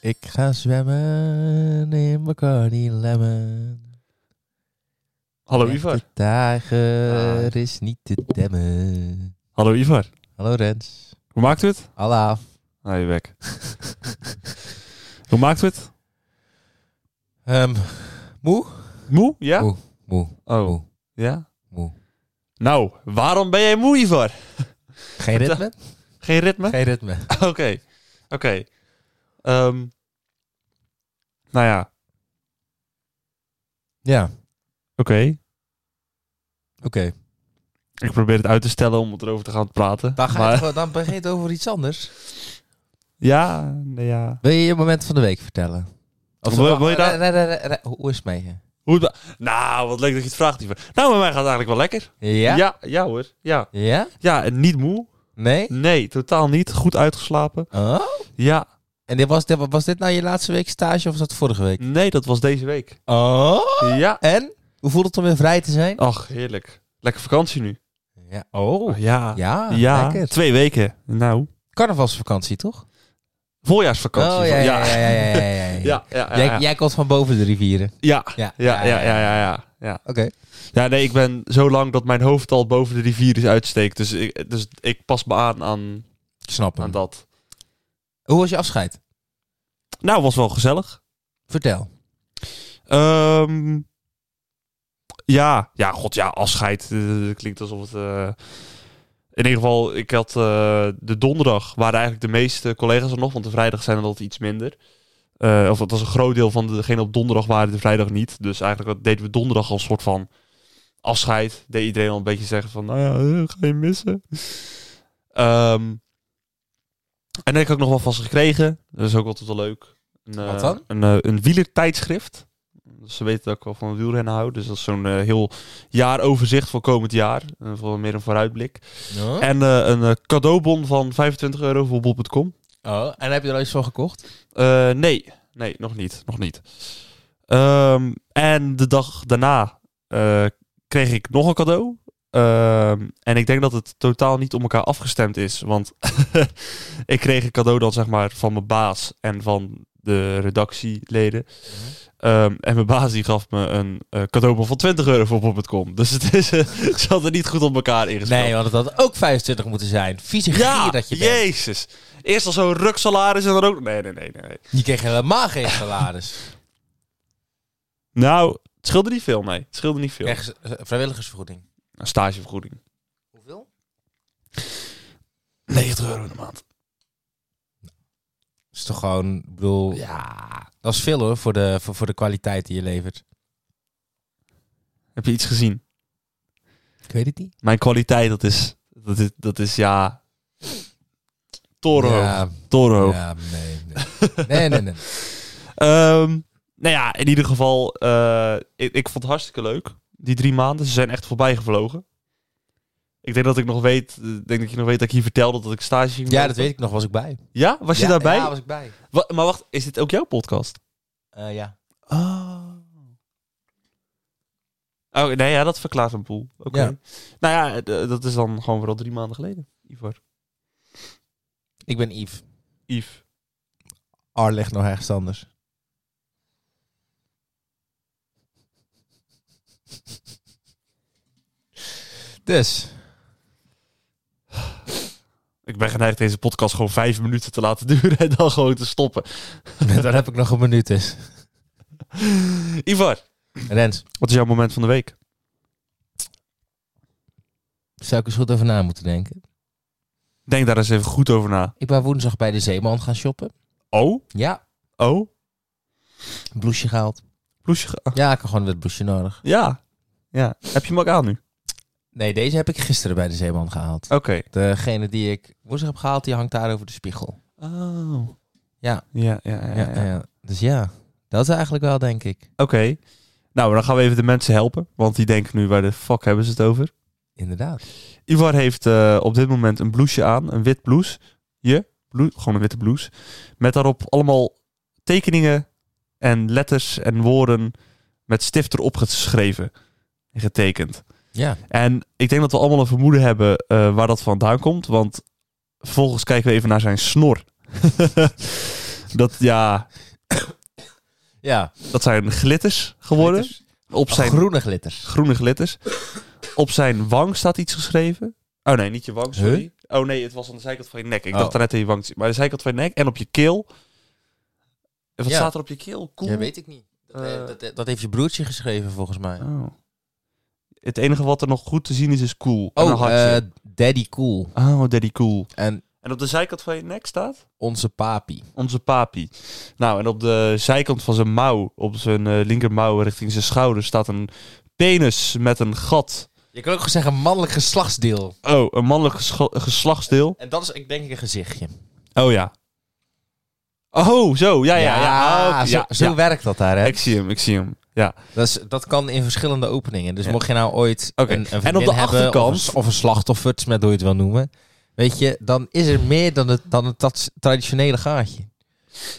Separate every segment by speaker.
Speaker 1: Ik ga zwemmen in Bacardi Lemon.
Speaker 2: Hallo
Speaker 1: Echte
Speaker 2: Ivar.
Speaker 1: Dagen
Speaker 2: Ah.
Speaker 1: is niet te demmen.
Speaker 2: Hallo Ivar.
Speaker 1: Hallo Rens.
Speaker 2: Hoe maakt u het?
Speaker 1: Alaaf.
Speaker 2: Ah, je bek. Hoe maakt u het?
Speaker 1: Ehm, moe?
Speaker 2: Moe? Ja?
Speaker 1: Moe. Moe.
Speaker 2: Oh.
Speaker 1: Moe.
Speaker 2: Ja?
Speaker 1: Moe.
Speaker 2: Nou, waarom ben jij moe, Ivar?
Speaker 1: Geen ritme?
Speaker 2: Geen ritme?
Speaker 1: Geen ritme.
Speaker 2: Oké. Oké. Ehm, nou ja.
Speaker 1: Ja,
Speaker 2: Oké.
Speaker 1: oké.
Speaker 2: Ik probeer het uit te stellen om erover te gaan praten.
Speaker 1: Dan, ga je
Speaker 2: Maar-
Speaker 1: het gewoon- dan begin je het over iets anders.
Speaker 2: Ja, nee, ja.
Speaker 1: Wil je je moment van de week vertellen?
Speaker 2: Wil- wil je
Speaker 1: Re-
Speaker 2: daar-
Speaker 1: re- re- re- re- Hoe is het mee? je?
Speaker 2: Hoe het ba- nou, wat leuk dat je het vraagt, Ivar. Nou, bij mij gaat het eigenlijk wel lekker.
Speaker 1: Ja?
Speaker 2: Ja, ja hoor. Ja.
Speaker 1: Ja?
Speaker 2: Ja, en niet moe.
Speaker 1: Nee?
Speaker 2: Nee, totaal niet. Goed uitgeslapen.
Speaker 1: Oh?
Speaker 2: Ja.
Speaker 1: En dit was, dit, was dit nou je laatste week stage of was dat vorige week?
Speaker 2: Nee, dat was deze week.
Speaker 1: Oh?
Speaker 2: Ja.
Speaker 1: En? Hoe voelt het om weer vrij te zijn?
Speaker 2: Ach, heerlijk. Lekker vakantie nu.
Speaker 1: Ja. Oh.
Speaker 2: ja.
Speaker 1: Ja,
Speaker 2: Ja,
Speaker 1: lekker.
Speaker 2: twee weken. Nou.
Speaker 1: Carnavalsvakantie, toch?
Speaker 2: Voorjaarsvakantie.
Speaker 1: oh, ja,
Speaker 2: van-
Speaker 1: ja, ja, ja, ja, ja, ja.
Speaker 2: Ja, ja, ja,
Speaker 1: Jij, jij komt van boven de rivieren.
Speaker 2: ja.
Speaker 1: Ja,
Speaker 2: Ja, ja, ja, ja, ja, ja.
Speaker 1: Oké.
Speaker 2: Ja, nee, ik ben zo lang dat mijn hoofd al boven de rivier is uitsteekt. Dus ik, dus ik pas me aan aan,
Speaker 1: Ik Snap
Speaker 2: aan
Speaker 1: hem.
Speaker 2: dat.
Speaker 1: Nou, Hoe was je afscheid?
Speaker 2: Nou, was wel gezellig.
Speaker 1: Vertel.
Speaker 2: Ehm, ja, ja, god, ja, afscheid. eh, klinkt alsof het... eh, in ieder geval, ik had eh, de donderdag, waren eigenlijk de meeste collega's er nog, want de vrijdag zijn er altijd iets minder. Eh, of dat was een groot deel van degene op donderdag waren de vrijdag niet. Dus eigenlijk wat deden we donderdag als soort van afscheid. Deed iedereen al een beetje zeggen van, nou ja, eh, ga je missen. Ehm, en dan heb ik ook nog wel vast gekregen. Dat is ook altijd wel leuk. Een, eh,
Speaker 1: Wat dan?
Speaker 2: Een, eh, een wielertijdschrift. Dus ze weten dat ik wel van wielrennen hou. Dus dat is zo'n eh, heel jaaroverzicht voor komend jaar. Eh, voor meer een vooruitblik.
Speaker 1: Oh. En,
Speaker 2: En eh, een eh, cadeaubon van 25 euro voor bol.com.
Speaker 1: Oh, heb je er al iets van gekocht?
Speaker 2: Eh, nee, nee, nog niet. Nog niet. Ehm, en de dag daarna eh, kreeg ik nog een cadeau. Ehm, en ik denk dat het totaal niet om elkaar afgestemd is. Want ik kreeg een cadeau dan zeg maar van mijn baas en van de redactieleden.
Speaker 1: Mhm.
Speaker 2: Ehm, en mijn baas die gaf me een eh, cadeaubon van 20 euro voor bol.com. Dus het is, eh, ze hadden niet goed op elkaar ingespeeld.
Speaker 1: Nee, want het had ook 25 moeten zijn. Vieze
Speaker 2: ja,
Speaker 1: gier dat je bent.
Speaker 2: jezus. Eerst al zo'n ruksalaris en dan ook... Nee, nee, nee, nee, nee.
Speaker 1: Je kreeg helemaal geen salaris.
Speaker 2: Nou, het scheelde niet veel, nee. Het scheelde niet
Speaker 1: Je
Speaker 2: veel.
Speaker 1: kreeg eh, vrijwilligersvergoeding.
Speaker 2: Een stagevergoeding.
Speaker 1: Hoeveel?
Speaker 2: 90 euro in de maand.
Speaker 1: Dat is toch gewoon, ik bedoel,
Speaker 2: Ja.
Speaker 1: dat is veel hoor voor de, voor, voor de kwaliteit die je levert.
Speaker 2: Heb je iets gezien?
Speaker 1: Ik weet het niet.
Speaker 2: Mijn kwaliteit, dat is... Dat is, dat is ja... Torenhoog.
Speaker 1: Ja,
Speaker 2: Torenhoog.
Speaker 1: ja, nee, nee. Nee, nee, nee.
Speaker 2: Ehm, nou ja, in ieder geval... eh, ik, ik vond het hartstikke leuk. Die drie maanden. Ze zijn echt voorbij gevlogen. Ik denk dat ik nog weet... Ik denk dat je nog weet dat ik hier vertelde dat ik stage ging
Speaker 1: Ja,
Speaker 2: lopen.
Speaker 1: dat weet ik nog, was ik bij.
Speaker 2: Ja? Was je
Speaker 1: Ja,
Speaker 2: daarbij?
Speaker 1: Ja, was ik bij.
Speaker 2: Wa- maar wacht, is dit ook jouw podcast?
Speaker 1: Eh, ja.
Speaker 2: Oh. Oh, nee, ja, dat verklaart een boel. Oké.
Speaker 1: Ja.
Speaker 2: Nou ja, d- dat is dan gewoon weer al drie maanden geleden. Ivar.
Speaker 1: Ik ben Yves.
Speaker 2: Yves.
Speaker 1: Ar ligt nog ergens anders. Dus,
Speaker 2: Ik ben geneigd deze podcast gewoon vijf minuten te laten duren en dan gewoon te stoppen.
Speaker 1: dan heb ik nog een minuut dus.
Speaker 2: Ivar,
Speaker 1: Rens,
Speaker 2: wat is jouw moment van de week?
Speaker 1: zou ik eens goed over na moeten denken.
Speaker 2: Denk daar eens even goed over na.
Speaker 1: Ik ben woensdag bij de Zeeman gaan shoppen.
Speaker 2: Oh,
Speaker 1: Ja,
Speaker 2: oh,
Speaker 1: een blouseje gehaald.
Speaker 2: bloesje. ge-
Speaker 1: Ja, ik had gewoon weer blouseje nodig.
Speaker 2: Ja, ja. Heb je hem ook aan nu?
Speaker 1: Nee, deze heb ik gisteren bij de Zeeman gehaald.
Speaker 2: Oké.
Speaker 1: Degene die ik woensdag heb gehaald, die hangt daar over de spiegel.
Speaker 2: Oh.
Speaker 1: Ja.
Speaker 2: Ja, ja, ja. ja.
Speaker 1: ja. Dus ja, dat is eigenlijk wel, denk ik.
Speaker 2: Oké. Nou, dan gaan we even de mensen helpen. Want die denken nu, waar de fuck hebben ze het over?
Speaker 1: Inderdaad.
Speaker 2: Ivar heeft eh, op dit moment een blouseje aan, een wit blouse. Je, bloe- gewoon een witte blouse. Met daarop allemaal tekeningen en letters en woorden met stift erop geschreven en getekend.
Speaker 1: Ja.
Speaker 2: En ik denk dat we allemaal een vermoeden hebben eh, waar dat vandaan komt. Want Vervolgens kijken we even naar zijn snor. dat, ja,
Speaker 1: Ja,
Speaker 2: dat zijn glitters geworden.
Speaker 1: glitters.
Speaker 2: Op zijn
Speaker 1: groene glitters.
Speaker 2: groene glitters. Op zijn wang staat iets geschreven. Oh nee, niet je wang, sorry. Oh nee, het was aan de zijkant van je nek. Ik
Speaker 1: Oh.
Speaker 2: dacht daarnet aan je wang. te zien. Maar de zijkant van je nek en op je keel. En wat
Speaker 1: Ja.
Speaker 2: staat er op je keel? Cool.
Speaker 1: Ja, weet ik niet. Dat, eh,
Speaker 2: Eh.
Speaker 1: dat, dat heeft je broertje geschreven volgens mij.
Speaker 2: Oh. Het enige wat er nog goed te zien is, is cool. en een
Speaker 1: Oh,
Speaker 2: hartje.
Speaker 1: eh, Daddy Cool.
Speaker 2: oh, daddy cool.
Speaker 1: En
Speaker 2: En op de zijkant van je nek staat
Speaker 1: onze papi.
Speaker 2: onze papi. Nou, en op de zijkant van zijn mouw, op zijn eh, linkermouw richting zijn schouder, staat een penis met een gat.
Speaker 1: Je kan ook gewoon zeggen mannelijk geslachtsdeel.
Speaker 2: Oh, een mannelijk gescho- geslachtsdeel.
Speaker 1: En dat is, ik denk, een gezichtje.
Speaker 2: Oh ja. Oh, zo. Ja, ja, ja. Ah, oké,
Speaker 1: zo,
Speaker 2: ja,
Speaker 1: zo
Speaker 2: ja.
Speaker 1: werkt dat daar, hè?
Speaker 2: Ik zie hem, ik zie hem. Ja.
Speaker 1: Dat, is, dat kan in verschillende openingen. Dus
Speaker 2: Ja.
Speaker 1: mocht je nou ooit
Speaker 2: Oké.
Speaker 1: een, een
Speaker 2: En op
Speaker 1: vriendin
Speaker 2: de
Speaker 1: hebben,
Speaker 2: achterkant-
Speaker 1: Of een, of een slachtoffer, het is met hoe je het wil noemen. Weet je, dan is er meer dan het, dan het tats- traditionele gaatje.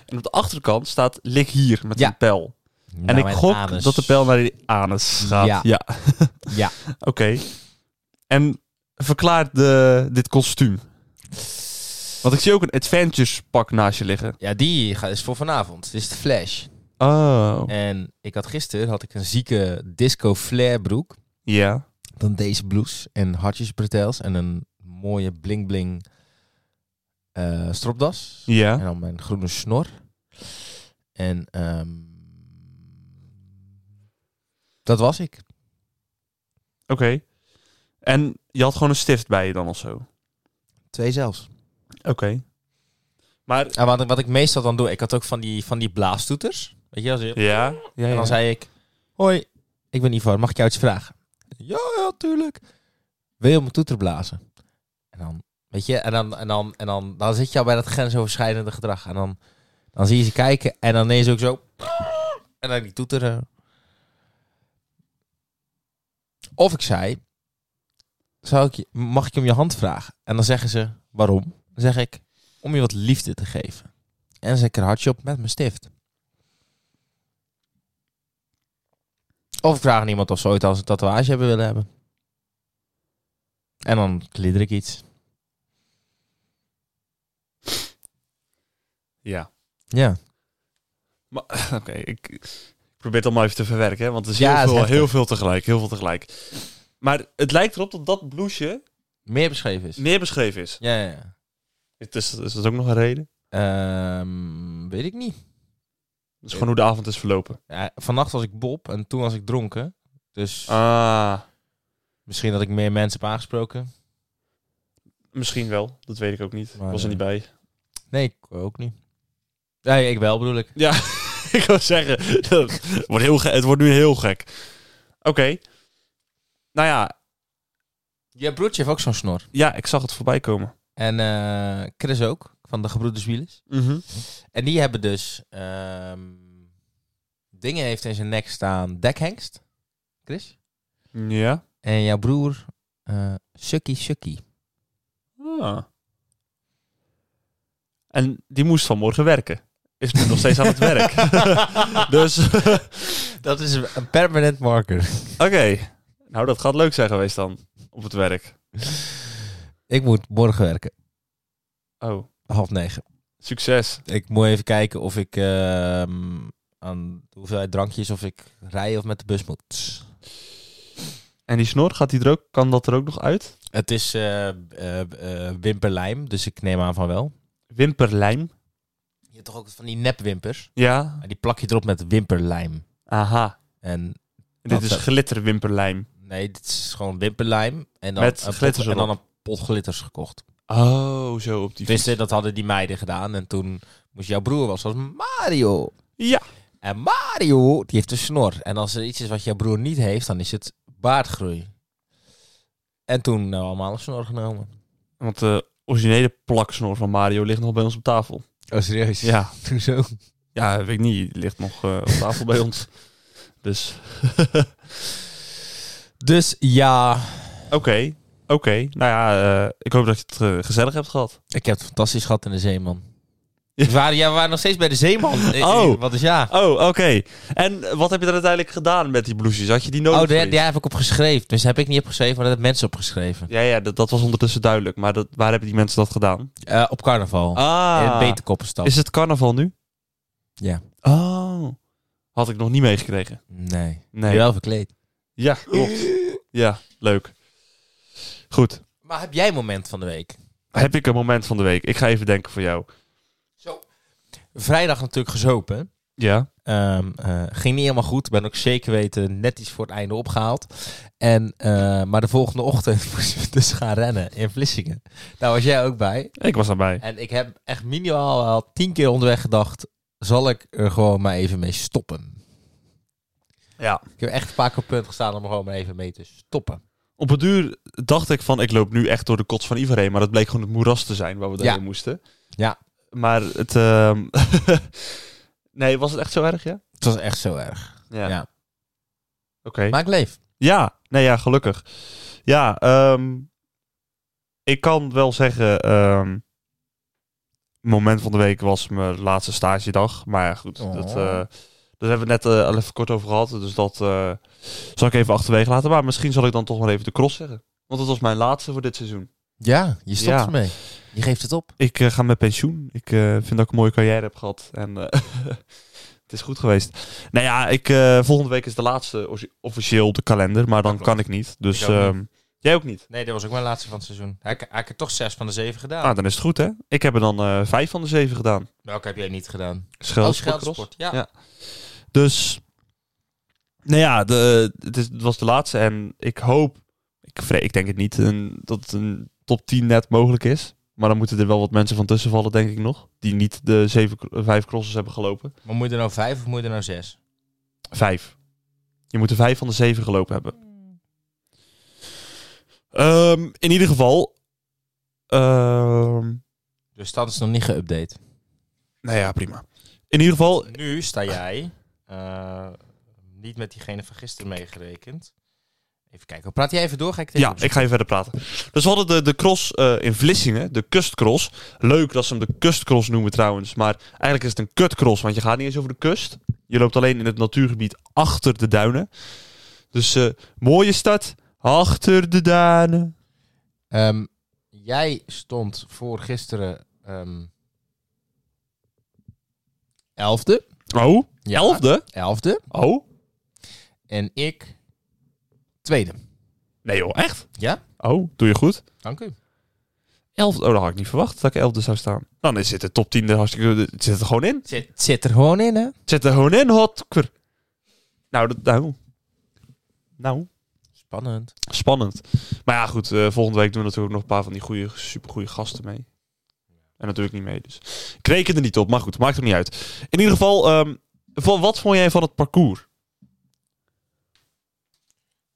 Speaker 2: En op de achterkant staat lik hier met
Speaker 1: Ja.
Speaker 2: een pijl. En
Speaker 1: Nou,
Speaker 2: ik
Speaker 1: mijn
Speaker 2: gok
Speaker 1: anus.
Speaker 2: dat de pijl naar die anus gaat.
Speaker 1: Ja.
Speaker 2: Ja.
Speaker 1: Ja.
Speaker 2: Oké. En verklaart de, dit kostuum. Want ik zie ook een Adventures pak naast je liggen.
Speaker 1: Ja, die ga- is voor vanavond. Dit is de Flash.
Speaker 2: Oh.
Speaker 1: En ik had gisteren had ik een zieke disco flare broek.
Speaker 2: Ja.
Speaker 1: Dan deze blouse en hartjesbretels en een mooie bling bling eh, stropdas.
Speaker 2: Ja.
Speaker 1: En dan mijn groene snor. En ehm, dat was ik.
Speaker 2: Oké. En je had gewoon een stift bij je dan of zo.
Speaker 1: Twee zelfs.
Speaker 2: Oké. Maar...
Speaker 1: En wat, ik- wat ik meestal dan doe, ik had ook van die, van die blaastoeters. Weet je, als je-
Speaker 2: Ja. ja,
Speaker 1: En
Speaker 2: ja.
Speaker 1: dan zei ik, hoi, ik ben Ivar, mag ik jou iets vragen? Ja, ja, tuurlijk. Wil je op mijn toeter blazen? En dan, weet je, en dan, en dan, en dan, dan zit je al bij dat grensoverschrijdende gedrag. En dan, dan zie je ze kijken en dan ineens ook zo. En dan die eh. toeteren. Of ik zei, zou ik, je- mag ik om je hand vragen? En dan zeggen ze, waarom? Dan zeg ik, om je wat liefde te geven. En dan zet ik er een hartje op met mijn stift. Of ik vraag aan iemand of ze ooit al eens een tatoeage hebben willen hebben. En dan klidder ik iets.
Speaker 2: Ja.
Speaker 1: Ja.
Speaker 2: Maar- Oké, ik, ik probeer het allemaal even te verwerken, hè, want er is
Speaker 1: Ja, het is
Speaker 2: heel, veel,
Speaker 1: heftig.
Speaker 2: heel veel tegelijk, heel veel tegelijk. Maar het lijkt erop dat dat blouseje
Speaker 1: Meer beschreven is.
Speaker 2: meer beschreven is.
Speaker 1: Ja, ja, ja.
Speaker 2: Is, is dat ook nog een reden?
Speaker 1: Ehm, weet ik niet.
Speaker 2: Dat is gewoon hoe de avond is verlopen.
Speaker 1: Ja, vannacht was ik Bob en toen was ik dronken. Dus
Speaker 2: Ah,
Speaker 1: misschien dat ik meer mensen heb aangesproken.
Speaker 2: misschien wel. Dat weet ik ook niet. Ik
Speaker 1: Maar,
Speaker 2: was er
Speaker 1: eh,
Speaker 2: niet bij.
Speaker 1: Nee, ik ook niet. Nee, ik wel bedoel ik.
Speaker 2: Ja, ik wil zeggen, dat wordt heel ge- het wordt nu heel gek. Oké. Nou ja,
Speaker 1: Je broertje heeft ook zo'n snor.
Speaker 2: ja, ik zag het voorbij komen.
Speaker 1: En eh, Chris ook, van de Gebroeders Wielers.
Speaker 2: Mhm.
Speaker 1: En die hebben dus... ehm, dingen heeft in zijn nek staan. Dekhengst. Chris?
Speaker 2: Ja.
Speaker 1: En jouw broer, eh Sukkie Sukkie.
Speaker 2: Ah. En die moest vanmorgen werken. Is nu nog steeds aan het werk. dus, oké.
Speaker 1: Dat is een permanent marker.
Speaker 2: Nou, dat gaat leuk zijn geweest dan. Op het werk.
Speaker 1: Ik moet morgen werken,
Speaker 2: Oh,
Speaker 1: half negen.
Speaker 2: succes.
Speaker 1: Ik moet even kijken of ik ehm, aan de hoeveelheid drankjes, of ik rij of met de bus moet.
Speaker 2: En die snor, gaat die er ook, kan dat er ook nog uit?
Speaker 1: Het is eh eh, eh, wimperlijm, dus ik neem aan van wel.
Speaker 2: Wimperlijm.
Speaker 1: Je hebt toch ook van die nepwimpers?
Speaker 2: Ja.
Speaker 1: En die plak je erop met wimperlijm.
Speaker 2: Aha.
Speaker 1: En
Speaker 2: Dit is
Speaker 1: zou-
Speaker 2: glitterwimperlijm.
Speaker 1: nee, dit is gewoon wimperlijm. En dan,
Speaker 2: Met
Speaker 1: een pot-
Speaker 2: glitters
Speaker 1: en dan
Speaker 2: erop.
Speaker 1: een pot glitters gekocht.
Speaker 2: Oh, zo op die
Speaker 1: Tenminste, dat hadden die meiden gedaan. En toen moest jouw broer was als Mario.
Speaker 2: Ja.
Speaker 1: En Mario, die heeft een snor. En als er iets is wat jouw broer niet heeft, dan is het baardgroei. En toen nou allemaal een snor genomen.
Speaker 2: Want de originele plaksnor van Mario ligt nog bij ons op tafel.
Speaker 1: Oh, serieus?
Speaker 2: Ja.
Speaker 1: Toen zo.
Speaker 2: Ja, weet ik niet. Die ligt nog eh, op tafel bij ons. Dus...
Speaker 1: Dus ja,
Speaker 2: Oké, oké. Nou ja, eh, ik hoop dat je het eh, gezellig hebt gehad.
Speaker 1: ik heb het fantastisch gehad in de zee, man. We waren, ja, we waren nog steeds bij de zeeman. Eh,
Speaker 2: Oh.
Speaker 1: eh, Wat is ja?
Speaker 2: Oh, oké. En wat heb je dan uiteindelijk gedaan met die blouses? Had je die nodig?
Speaker 1: Oh, daar,
Speaker 2: voor iets?
Speaker 1: daar heb ik op geschreven. Dus heb ik niet opgeschreven, maar dat hebben mensen opgeschreven.
Speaker 2: ja, ja dat, dat was ondertussen duidelijk. Maar dat, waar hebben die mensen dat gedaan?
Speaker 1: Eh, op carnaval.
Speaker 2: Ah,
Speaker 1: In Beterkoppenstad.
Speaker 2: is het carnaval nu?
Speaker 1: Ja.
Speaker 2: Oh, had ik nog niet meegekregen.
Speaker 1: Nee.
Speaker 2: Nee.
Speaker 1: Wel verkleed.
Speaker 2: Ja, klopt. ja, leuk. Goed.
Speaker 1: Maar heb jij een moment van de week?
Speaker 2: Heb ik een moment van de week? Ik ga even denken voor jou.
Speaker 1: Vrijdag natuurlijk gezopen.
Speaker 2: Ja.
Speaker 1: Ehm, eh, ging niet helemaal goed. Ben ook zeker weten net iets voor het einde opgehaald. En, eh, maar de volgende ochtend moesten we dus gaan rennen in Vlissingen. Daar was jij ook bij.
Speaker 2: Ik was daarbij.
Speaker 1: En ik heb echt minimaal al tien keer onderweg gedacht... zal ik er gewoon maar even mee stoppen?
Speaker 2: Ja.
Speaker 1: Ik heb echt een paar keer op het punt gestaan om er gewoon maar even mee te stoppen.
Speaker 2: Op het duur dacht ik van, ik loop nu echt door de kots van iedereen. Maar dat bleek gewoon het moeras te zijn waar we doorheen
Speaker 1: Ja.
Speaker 2: moesten.
Speaker 1: Ja.
Speaker 2: Maar het... ehm, nee, was het echt zo erg, ja?
Speaker 1: Het was echt zo erg.
Speaker 2: Ja.
Speaker 1: Ja.
Speaker 2: Oké.
Speaker 1: Maar ik leef.
Speaker 2: Ja, nee, ja, gelukkig. Ja, ehm, ik kan wel zeggen, ehm, moment van de week was mijn laatste stagedag. Maar ja, goed,
Speaker 1: Oh.
Speaker 2: dat, eh, daar hebben we het net eh, al even kort over gehad. Dus dat eh, zal ik even achterwege laten. Maar misschien zal ik dan toch maar even de cross zeggen. Want dat was mijn laatste voor dit seizoen.
Speaker 1: Ja, je stopt
Speaker 2: Ja.
Speaker 1: ermee. Je geeft het op.
Speaker 2: Ik eh, ga met pensioen. Ik eh, vind dat ik een mooie carrière heb gehad. En eh, het is goed geweest. Nou ja, ik, eh, volgende week is de laatste offici- officieel op de kalender. Maar dan
Speaker 1: klopt.
Speaker 2: kan ik niet. Dus
Speaker 1: Ik ook niet.
Speaker 2: ehm, jij ook niet.
Speaker 1: Nee, dat was ook mijn laatste van het seizoen. Hij ik heb toch zes van de zeven gedaan.
Speaker 2: Ah, dan is het goed, hè? Ik heb er dan eh, vijf van de zeven gedaan.
Speaker 1: Welke heb jij niet gedaan?
Speaker 2: Scheld,
Speaker 1: ja.
Speaker 2: Ja. Dus, nou ja, de, het, is, het was de laatste. En ik hoop, ik, vre- ik denk het niet, een, dat een top 10 net mogelijk is. Maar dan moeten er wel wat mensen van tussen vallen, denk ik nog. Die niet de zeven, cro- eh, vijf crosses hebben gelopen.
Speaker 1: Maar moet je er nou vijf of moet je er nou zes?
Speaker 2: Vijf. Je moet er vijf van de zeven gelopen hebben. Ehm, in ieder geval... ehm,
Speaker 1: De stand Dus is nog niet geüpdate.
Speaker 2: nou ja, prima. In ieder geval,
Speaker 1: Nu sta jij, eh, niet met diegene van gisteren meegerekend. Even kijken, praat jij even door? Ga ik het even
Speaker 2: Ja, ik ga even verder praten. Dus we hadden de, de cross eh, in Vlissingen, de kustcross. Leuk dat ze hem de kustcross noemen trouwens. Maar eigenlijk is het een kutcross, want je gaat niet eens over de kust. Je loopt alleen in het natuurgebied achter de duinen. Dus eh, mooie stad, achter de duinen.
Speaker 1: Ehm, jij stond voor gisteren ehm, elfde.
Speaker 2: Oh,
Speaker 1: Ja,
Speaker 2: elfde?
Speaker 1: Elfde.
Speaker 2: Oh,
Speaker 1: En ik tweede.
Speaker 2: nee joh, echt?
Speaker 1: Ja?
Speaker 2: Oh, doe je goed.
Speaker 1: Dank u.
Speaker 2: Elfde, oh, dat had ik niet verwacht dat ik elfde zou staan. Dan is het de top 10 er hartstikke, het zit er gewoon in.
Speaker 1: Zit, zit er gewoon in, hè?
Speaker 2: Het zit er gewoon in, hotker. Nou, dat, nou. Nou.
Speaker 1: Spannend.
Speaker 2: Spannend. Maar ja, goed. eh, volgende week doen we natuurlijk nog een paar van die goede, supergoeie gasten mee. En natuurlijk niet mee, dus... Ik reken er niet op, maar goed. Maakt het niet uit. In ieder geval, ehm, van, wat vond jij van het parcours?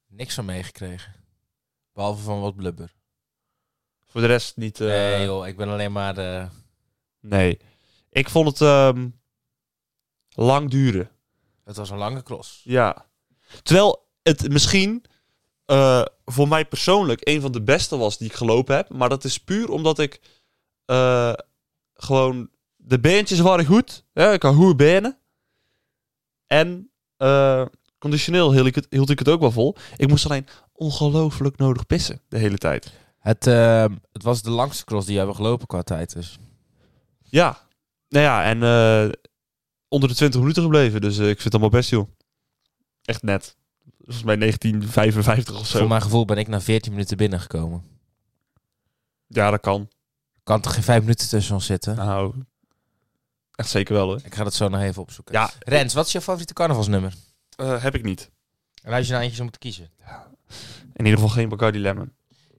Speaker 1: Niks van meegekregen. Behalve van wat blubber.
Speaker 2: Voor de rest niet... eh,
Speaker 1: Nee joh, ik ben alleen maar... eh,
Speaker 2: nee. Ik vond het ehm, lang duren.
Speaker 1: het was een lange cross.
Speaker 2: Ja. Terwijl het misschien eh, voor mij persoonlijk een van de beste was die ik gelopen heb. Maar dat is puur omdat ik eh, gewoon... De beentjes waren goed. Ja, ik had goede benen. En eh, conditioneel hield ik, het, hield ik het ook wel vol. Ik moest alleen ongelooflijk nodig pissen de hele tijd.
Speaker 1: Het, ehm, het was de langste cross die we hebben gelopen qua tijd dus.
Speaker 2: Ja. Nou ja, en eh, onder de 20 minuten gebleven. Dus eh, ik vind het allemaal best, joh. Echt net. Volgens mij 1955 of
Speaker 1: Voor
Speaker 2: zo.
Speaker 1: mijn gevoel ben ik na 14 minuten binnengekomen.
Speaker 2: Ja, dat kan.
Speaker 1: Kan toch geen 5 minuten tussen ons zitten?
Speaker 2: Nou, echt zeker wel hoor.
Speaker 1: Ik ga dat zo nog even opzoeken.
Speaker 2: Ja,
Speaker 1: Rens, wat is jouw favoriete carnavalsnummer?
Speaker 2: eh, heb ik niet.
Speaker 1: En als je nou eentje zou moeten kiezen.
Speaker 2: In ieder geval geen Bacardi Lemon.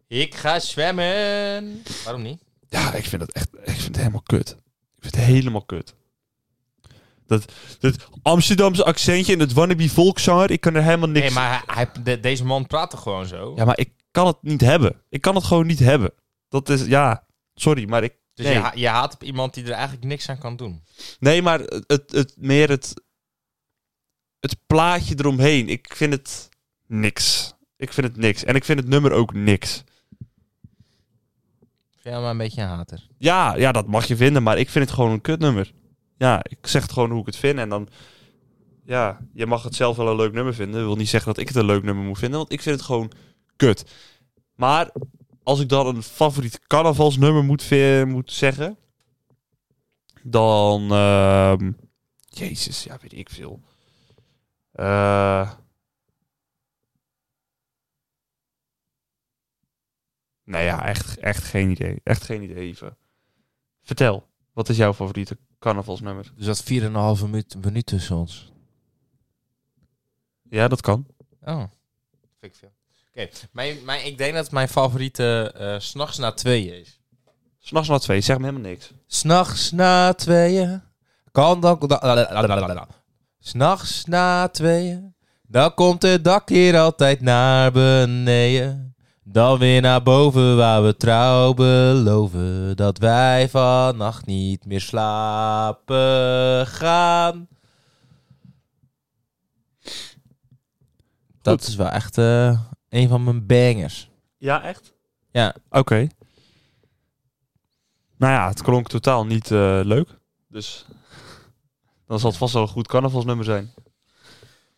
Speaker 1: Ik ga zwemmen. Waarom niet?
Speaker 2: Ja, ik vind dat echt, ik vind het helemaal kut. Ik vind het helemaal kut. Dat, dat Amsterdamse accentje en het wannabe volkszanger, ik kan er helemaal niks...
Speaker 1: Nee, maar hij, hij- de- deze man praat toch gewoon zo?
Speaker 2: Ja, maar ik kan het niet hebben. Ik kan het gewoon niet hebben. Dat is, ja, sorry, maar ik...
Speaker 1: dus
Speaker 2: nee.
Speaker 1: je, ha- je haat op iemand die er eigenlijk niks aan kan doen.
Speaker 2: Nee, maar het, het, het- meer het, het plaatje eromheen. Ik vind het niks. Ik vind het niks. En ik vind het nummer ook niks.
Speaker 1: Vind jij maar een beetje een hater?
Speaker 2: Ja, ja, dat mag je vinden, maar ik vind het gewoon een kutnummer. Ja, ik zeg het gewoon hoe ik het vind en dan... Ja, je mag het zelf wel een leuk nummer vinden. Dat wil niet zeggen dat ik het een leuk nummer moet vinden, want ik vind het gewoon kut. Maar als ik dan een favoriet carnavalsnummer moet, vi- moet zeggen... Dan... ehm, jezus, ja, weet ik veel. Eh, nou ja, echt, echt geen idee. Echt geen idee even. Vertel, wat is jouw favoriete carnavalsnummer?
Speaker 1: Dus dat 4,5 minuut, minuut tussen ons.
Speaker 2: Ja, dat kan.
Speaker 1: Oh. Vind ik veel. Oké, mijn, mijn, ik denk dat mijn favoriete eh, 's s'nachts na tweeën is.
Speaker 2: S'nachts na twee, zeg me helemaal niks.
Speaker 1: S'nachts na tweeën. Kan dan. da- la- la- la- la- la- la. S'nachts na tweeën. Dan komt het dak hier altijd naar beneden. Dan weer naar boven waar we trouw beloven. Dat wij vannacht niet meer slapen gaan. Dat is wel echt eh, een van mijn bangers.
Speaker 2: Ja, echt?
Speaker 1: Ja.
Speaker 2: Oké. Nou ja, het klonk totaal niet eh, leuk. Dus dan zal het vast wel een goed carnavalsnummer zijn.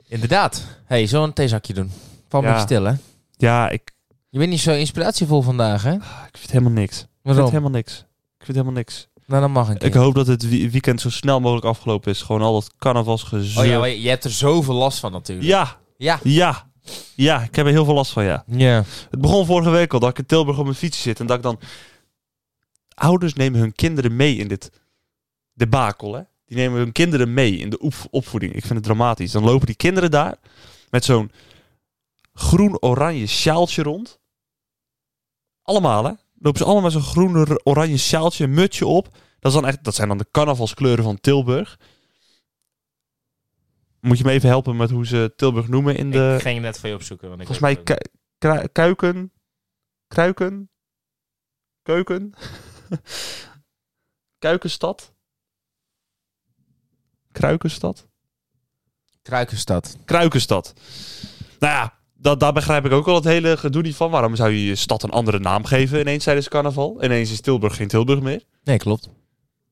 Speaker 1: Inderdaad. hey, zo'n theezakje doen. Van
Speaker 2: Ja.
Speaker 1: beetje stil, hè?
Speaker 2: Ja, ik, ah,
Speaker 1: Je bent niet zo inspiratievol vandaag, hè?
Speaker 2: ik vind het helemaal niks. Ik vind het
Speaker 1: Waarom?
Speaker 2: helemaal niks. Ik vind het helemaal niks.
Speaker 1: Nou, dan mag ik.
Speaker 2: Ik hoop dat het wie- weekend zo snel mogelijk afgelopen is. Gewoon al dat carnavalsgezeur.
Speaker 1: Oh ja, maar je je hebt er zoveel last van natuurlijk.
Speaker 2: ja,
Speaker 1: Ja.
Speaker 2: ja, ja. Ik heb er heel veel last van, ja.
Speaker 1: Ja.
Speaker 2: Het begon vorige week al dat ik in Tilburg op mijn fiets zit en dat ik dan... Ouders nemen hun kinderen mee in dit debakel, hè? Die nemen hun kinderen mee in de oep- opvoeding. Ik vind het dramatisch. Dan lopen die kinderen daar met zo'n groen-oranje sjaaltje rond. Allemaal, hè? Lopen ze allemaal met zo'n groen-oranje sjaaltje, een mutje op. Dat, is dan echt, dat zijn dan de carnavalskleuren van Tilburg. Moet je me even helpen met hoe ze Tilburg noemen in de...
Speaker 1: Ik ging net voor je opzoeken. Want ik
Speaker 2: Volgens mij
Speaker 1: weet het
Speaker 2: ku- kru- kuiken. Kruiken. Keuken. Kuikenstad. Kruikenstad.
Speaker 1: ook. Kruikenstad.
Speaker 2: Kruikenstad. Nou ja, dat, daar begrijp ik ook al het hele gedoe niet van. Waarom zou je je stad een andere naam geven ineens tijdens carnaval? Ineens is Tilburg geen Tilburg meer.
Speaker 1: Nee, klopt.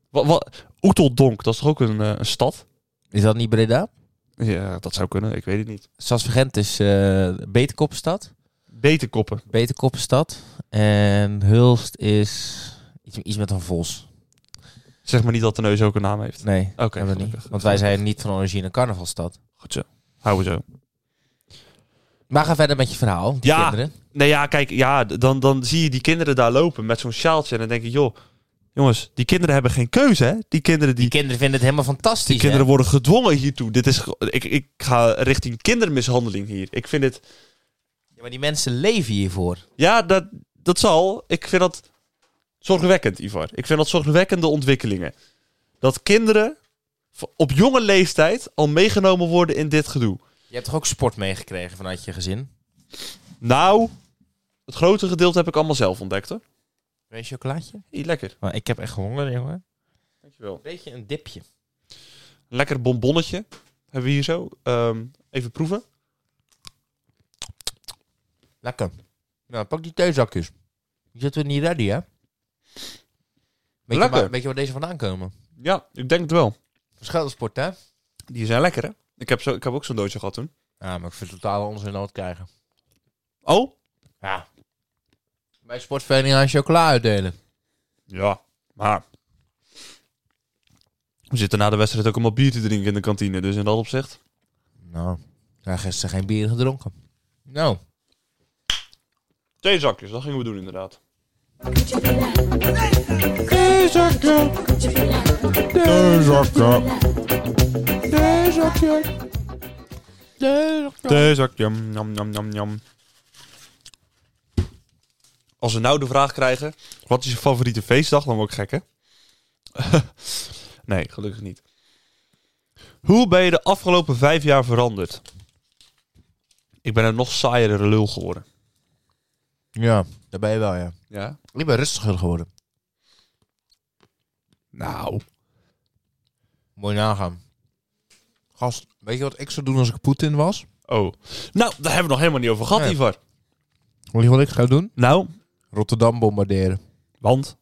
Speaker 2: Wat, wat, Oeteldonk, dat is toch ook een, eh, een stad?
Speaker 1: Is dat niet Breda?
Speaker 2: Ja, dat zou kunnen. Ik weet het niet.
Speaker 1: Sasvergent is eh Beterkoppenstad.
Speaker 2: Beterkoppen.
Speaker 1: Beterkoppenstad. En Hulst is iets, iets met een vos.
Speaker 2: Zeg maar niet dat de neus ook een naam heeft.
Speaker 1: Nee,
Speaker 2: Oh, Oké,
Speaker 1: hebben we niet.
Speaker 2: gelukkig.
Speaker 1: Want wij zijn niet van origine een carnavalstad.
Speaker 2: Goed zo. Houden we zo.
Speaker 1: Maar ga verder met je verhaal. Die
Speaker 2: Ja.
Speaker 1: kinderen.
Speaker 2: Nee, ja, kijk, ja, d- dan, dan zie je die kinderen daar lopen met zo'n sjaaltje. En dan denk ik, joh, jongens, die kinderen hebben geen keuze, hè? Die kinderen, die,
Speaker 1: Die kinderen vinden het helemaal fantastisch.
Speaker 2: die kinderen worden gedwongen hiertoe. Dit is, ge- ik, ik ga richting kindermishandeling hier. Ik vind het,
Speaker 1: hè? Ja, maar die mensen leven hiervoor.
Speaker 2: ja, dat, dat zal. Ik vind dat zorgwekkend, Ivar. Ik vind dat zorgwekkende ontwikkelingen. Dat kinderen v- op jonge leeftijd al meegenomen worden in dit gedoe.
Speaker 1: Je hebt toch ook sport meegekregen vanuit je gezin?
Speaker 2: Nou, het grote gedeelte heb ik allemaal zelf ontdekt, hoor.
Speaker 1: Wil je een chocolaatje?
Speaker 2: Hey, lekker.
Speaker 1: Maar ik heb echt honger, jongen.
Speaker 2: Dankjewel.
Speaker 1: Beetje een dipje.
Speaker 2: lekker bonbonnetje. Hebben we hier zo. Ehm, even proeven.
Speaker 1: Lekker. Nou, pak die theezakjes. Die zitten we niet ready, hè? Weet je,
Speaker 2: Lekker.
Speaker 1: waar, weet je waar deze vandaan komen?
Speaker 2: Ja, ik denk het wel.
Speaker 1: Verschillende sport, hè?
Speaker 2: Die zijn lekker, hè? Ik heb, zo, ik heb ook zo'n doosje gehad toen.
Speaker 1: Ja, maar ik vind het totaal onzin nood krijgen.
Speaker 2: Oh?
Speaker 1: Ja. Bij sportvereniging aan chocola uitdelen.
Speaker 2: Ja, maar... We zitten na de wedstrijd ook allemaal bier te drinken in de kantine. Dus in dat opzicht...
Speaker 1: Nou, ik heb gisteren geen bier gedronken. Nou.
Speaker 2: Twee zakjes, dat gingen we doen inderdaad.
Speaker 1: Theezakje.
Speaker 2: Twee zakjes, nam nam nam nam. Als we nou de vraag krijgen... Wat is je favoriete feestdag? Dan word ik gek, hè? nee, gelukkig niet. Hoe ben je de afgelopen vijf jaar veranderd? Ik ben een nog saaiere lul geworden.
Speaker 1: Ja, daar ben je wel, ja.
Speaker 2: Ja?
Speaker 1: Ik ben rustiger geworden.
Speaker 2: Nou.
Speaker 1: Mooi nagaan. Gast, weet je wat ik zou doen als ik Poetin was?
Speaker 2: Oh. Nou, daar hebben we het nog helemaal niet over gehad,
Speaker 1: Nee.
Speaker 2: Ivar.
Speaker 1: Weet je wat ik ga doen?
Speaker 2: Nou,
Speaker 1: Rotterdam bombarderen.
Speaker 2: Want?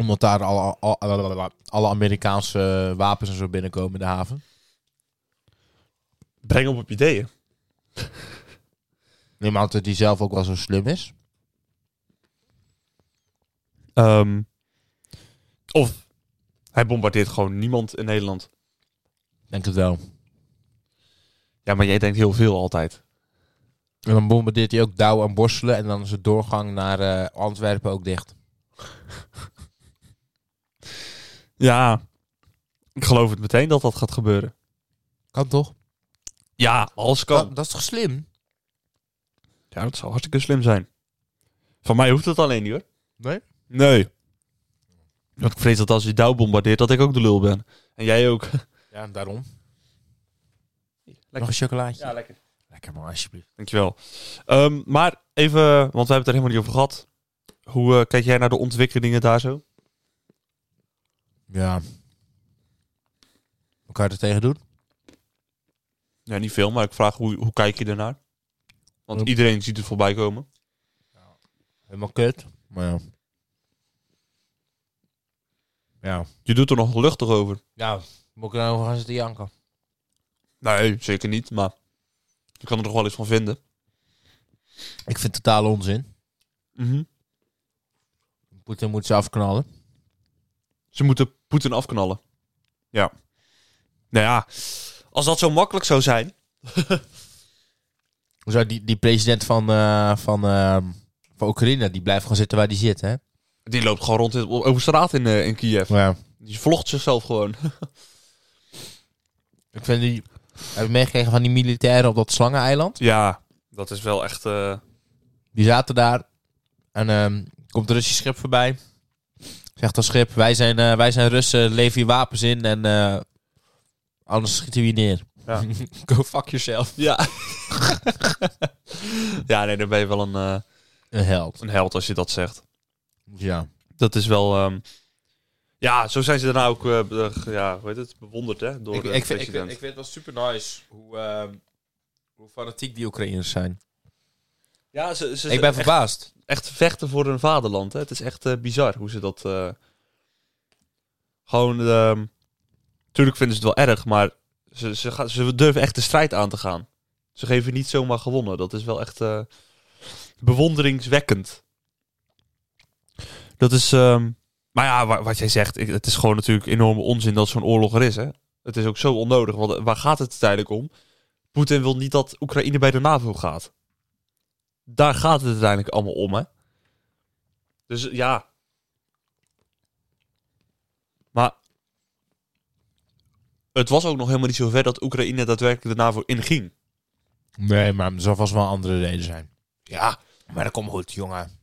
Speaker 1: Omdat daar alle, alle, alle Amerikaanse eh, wapens en zo binnenkomen in de haven.
Speaker 2: Breng op op ideeën.
Speaker 1: Niemand dat die zelf ook wel zo slim is.
Speaker 2: Ehm, of hij bombardeert gewoon niemand in Nederland.
Speaker 1: Denk het wel.
Speaker 2: Ja, maar jij denkt heel veel altijd.
Speaker 1: En dan bombardeert hij ook Douw en Borselen. En dan is de doorgang naar eh, Antwerpen ook dicht.
Speaker 2: Ja. Ik geloof het meteen dat dat gaat gebeuren.
Speaker 1: Kan toch?
Speaker 2: Ja, alles kan.
Speaker 1: Dat, dat is toch slim?
Speaker 2: Ja, dat zou hartstikke slim zijn. Van mij hoeft het alleen niet hoor.
Speaker 1: Nee?
Speaker 2: Nee. Want ik vrees dat als je douw bombardeert, dat ik ook de lul ben. En jij ook.
Speaker 1: Ja, daarom. Nog
Speaker 2: Lekker.
Speaker 1: een chocolaatje.
Speaker 2: lekker.
Speaker 1: Lekker man, alsjeblieft.
Speaker 2: Dankjewel. Ehm, maar even, want we hebben het er helemaal niet over gehad. Hoe eh, kijk jij naar de ontwikkelingen daar zo?
Speaker 1: Ja. Wat kan je er tegen doen?
Speaker 2: Ja, niet veel, maar ik vraag hoe, hoe kijk je ernaar? Want
Speaker 1: Oep.
Speaker 2: iedereen ziet het voorbij komen.
Speaker 1: Helemaal kut. Maar ja. Ja.
Speaker 2: Je doet er nog luchtig over.
Speaker 1: Ja, moet ik er nou over gaan zitten janken?
Speaker 2: Nee, zeker niet, maar je kan er nog wel eens van vinden.
Speaker 1: Ik vind het totaal onzin.
Speaker 2: Mhm.
Speaker 1: Poetin moet ze afknallen.
Speaker 2: Ze moeten Poetin afknallen. Ja. Nou ja, als dat zo makkelijk zou zijn.
Speaker 1: Zo, die, die president van, eh, van, eh, van Oekraïne, die blijft gewoon zitten waar die zit, hè?
Speaker 2: Die loopt gewoon rond in, over straat in, eh, in Kiev.
Speaker 1: Ja.
Speaker 2: Die vlogt zichzelf gewoon.
Speaker 1: Ik vind die... Heb je meegekregen van die militairen op dat slangeneiland?
Speaker 2: Ja, dat is wel echt... eh,
Speaker 1: Die zaten daar. En ehm, komt een Russisch schip voorbij. Zegt dat schip, wij zijn, eh, wij zijn Russen, lever je wapens in en eh, anders schieten we je neer.
Speaker 2: Ja.
Speaker 1: Go fuck yourself.
Speaker 2: Ja. ja, nee, dan ben je wel een, eh,
Speaker 1: Een held.
Speaker 2: een held als je dat zegt.
Speaker 1: Ja.
Speaker 2: Dat is wel... ehm, ja, zo zijn ze daarna ook eh, be- ja, hoe heet het, bewonderd hè, door
Speaker 1: Ik,
Speaker 2: de
Speaker 1: ik, vind, ik,
Speaker 2: president.
Speaker 1: vind, ik vind het wel super nice hoe, ehm, hoe fanatiek die Oekraïners zijn.
Speaker 2: ja, ze, ze,
Speaker 1: ik ben
Speaker 2: echt,
Speaker 1: verbaasd.
Speaker 2: echt vechten voor hun vaderland. Hè. Het is echt eh, bizar hoe ze dat... eh, gewoon... ehm, tuurlijk vinden ze het wel erg, maar ze, ze, gaan, ze durven echt de strijd aan te gaan. Ze geven niet zomaar gewonnen. Dat is wel echt eh, bewonderingswekkend. Dat is... ehm, maar ja, wa- wat jij zegt, ik- het is gewoon natuurlijk enorme onzin dat zo'n oorlog er is. Hè? Het is ook zo onnodig, want eh, waar gaat het uiteindelijk om? Poetin wil niet dat Oekraïne bij de NAVO gaat. Daar gaat het uiteindelijk allemaal om, hè? Dus eh, ja. Maar het was ook nog helemaal niet zo ver dat Oekraïne daadwerkelijk de NAVO inging.
Speaker 1: Nee, maar er zal vast wel een andere reden zijn.
Speaker 2: Ja,
Speaker 1: Maar dat komt goed, jongen.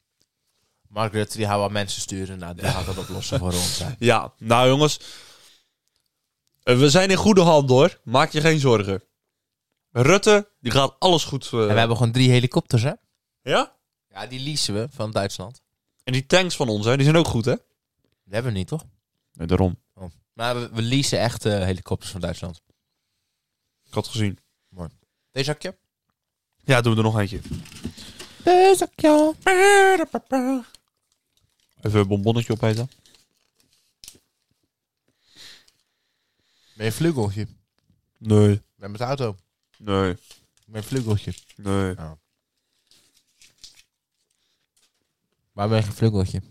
Speaker 1: Mark Rutte, die gaat wel mensen sturen. Nou, die gaat dat oplossen voor ons. hè.
Speaker 2: Ja, nou jongens. Eh, We zijn in goede hand hoor. Maak je geen zorgen. Rutte, die gaat alles goed. eh,
Speaker 1: En we hebben gewoon drie helikopters, hè?
Speaker 2: Ja?
Speaker 1: Ja, die leasen we van Duitsland.
Speaker 2: En die tanks van ons, hè, die zijn ook goed, hè?
Speaker 1: Die hebben we niet, toch?
Speaker 2: Nee, daarom.
Speaker 1: Maar we, we leasen echt eh, helikopters van Duitsland.
Speaker 2: Ik had het gezien.
Speaker 1: Deze zakje?
Speaker 2: Ja, doen we er nog eentje.
Speaker 1: Deze zakje.
Speaker 2: Even een bonbonnetje opeten.
Speaker 1: Mijn vlugeltje.
Speaker 2: Nee.
Speaker 1: Met mijn auto.
Speaker 2: Nee.
Speaker 1: Mijn vlugeltje.
Speaker 2: Nee.
Speaker 1: Waar ben je vlugeltje?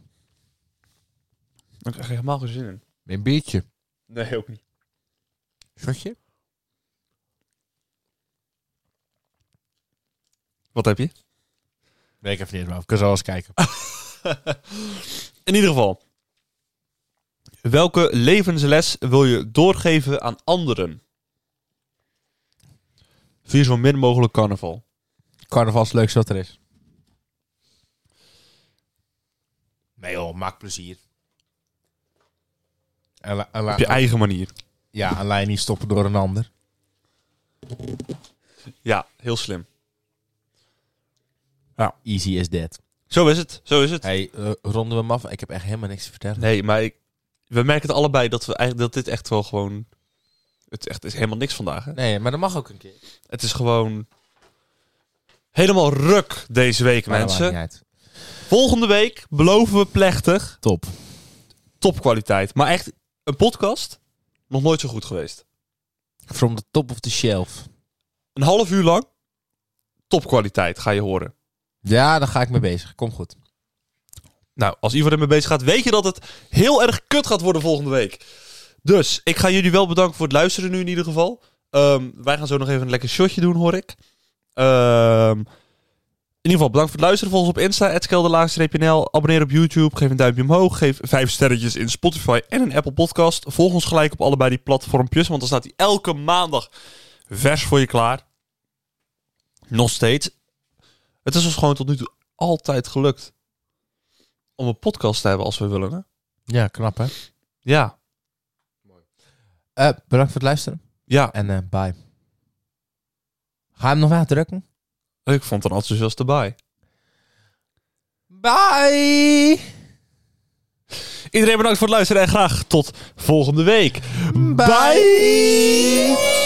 Speaker 2: Dan krijg je helemaal geen zin in.
Speaker 1: Mijn biertje.
Speaker 2: Nee, ook niet.
Speaker 1: Shotje?
Speaker 2: Wat heb je?
Speaker 1: Nee, ik even niet, maar ik kan zo eens kijken.
Speaker 2: In ieder geval. Welke levensles wil je doorgeven aan anderen? Vier zo min mogelijk carnaval.
Speaker 1: Carnaval is het leukste wat er is. Nee joh, maak plezier. En, la- en la-
Speaker 2: Op je eigen manier.
Speaker 1: ja, en laat je niet stoppen door een ander.
Speaker 2: Ja, heel slim.
Speaker 1: Easy as that.
Speaker 2: Zo is het, zo is het.
Speaker 1: Hey, eh, ronden we hem af? Ik heb echt helemaal niks te vertellen.
Speaker 2: Nee, maar ik- we merken het allebei dat, we eigenlijk, dat dit echt wel gewoon... Het is echt, het is helemaal niks vandaag, hè?
Speaker 1: Nee, maar dat mag ook een keer.
Speaker 2: Het is gewoon helemaal ruk deze week,
Speaker 1: Maar dat
Speaker 2: mensen.
Speaker 1: maakt niet uit.
Speaker 2: Volgende week beloven we plechtig
Speaker 1: Top.
Speaker 2: topkwaliteit. Maar echt, een podcast, nog nooit zo goed geweest.
Speaker 1: From the top of the shelf.
Speaker 2: Een half uur lang, topkwaliteit ga je horen.
Speaker 1: Ja, daar ga ik mee bezig. Kom goed.
Speaker 2: Nou, als Ivo ermee bezig gaat, weet je dat het heel erg kut gaat worden volgende week. Dus, ik ga jullie wel bedanken voor het luisteren nu in ieder geval. Ehm, wij gaan zo nog even een lekker shotje doen, hoor ik. Ehm, in ieder geval, bedankt voor het luisteren. Volg ons op Insta, @skelderlaagstreepnl. Abonneer op YouTube, geef een duimpje omhoog. Geef vijf sterretjes in Spotify en een Apple podcast. Volg ons gelijk op allebei die platformpjes, want dan staat hij elke maandag vers voor je klaar. Nog steeds. Het is ons gewoon tot nu toe altijd gelukt om een podcast te hebben als we willen. Hè?
Speaker 1: Ja, knap hè.
Speaker 2: Ja,
Speaker 1: Eh, bedankt voor het luisteren.
Speaker 2: ja.
Speaker 1: En eh, bye. Ga hem nog uitdrukken?
Speaker 2: Ik vond het een enthousiaste bij.
Speaker 1: Bye.
Speaker 2: Iedereen bedankt voor het luisteren en graag tot volgende week.
Speaker 1: Bye.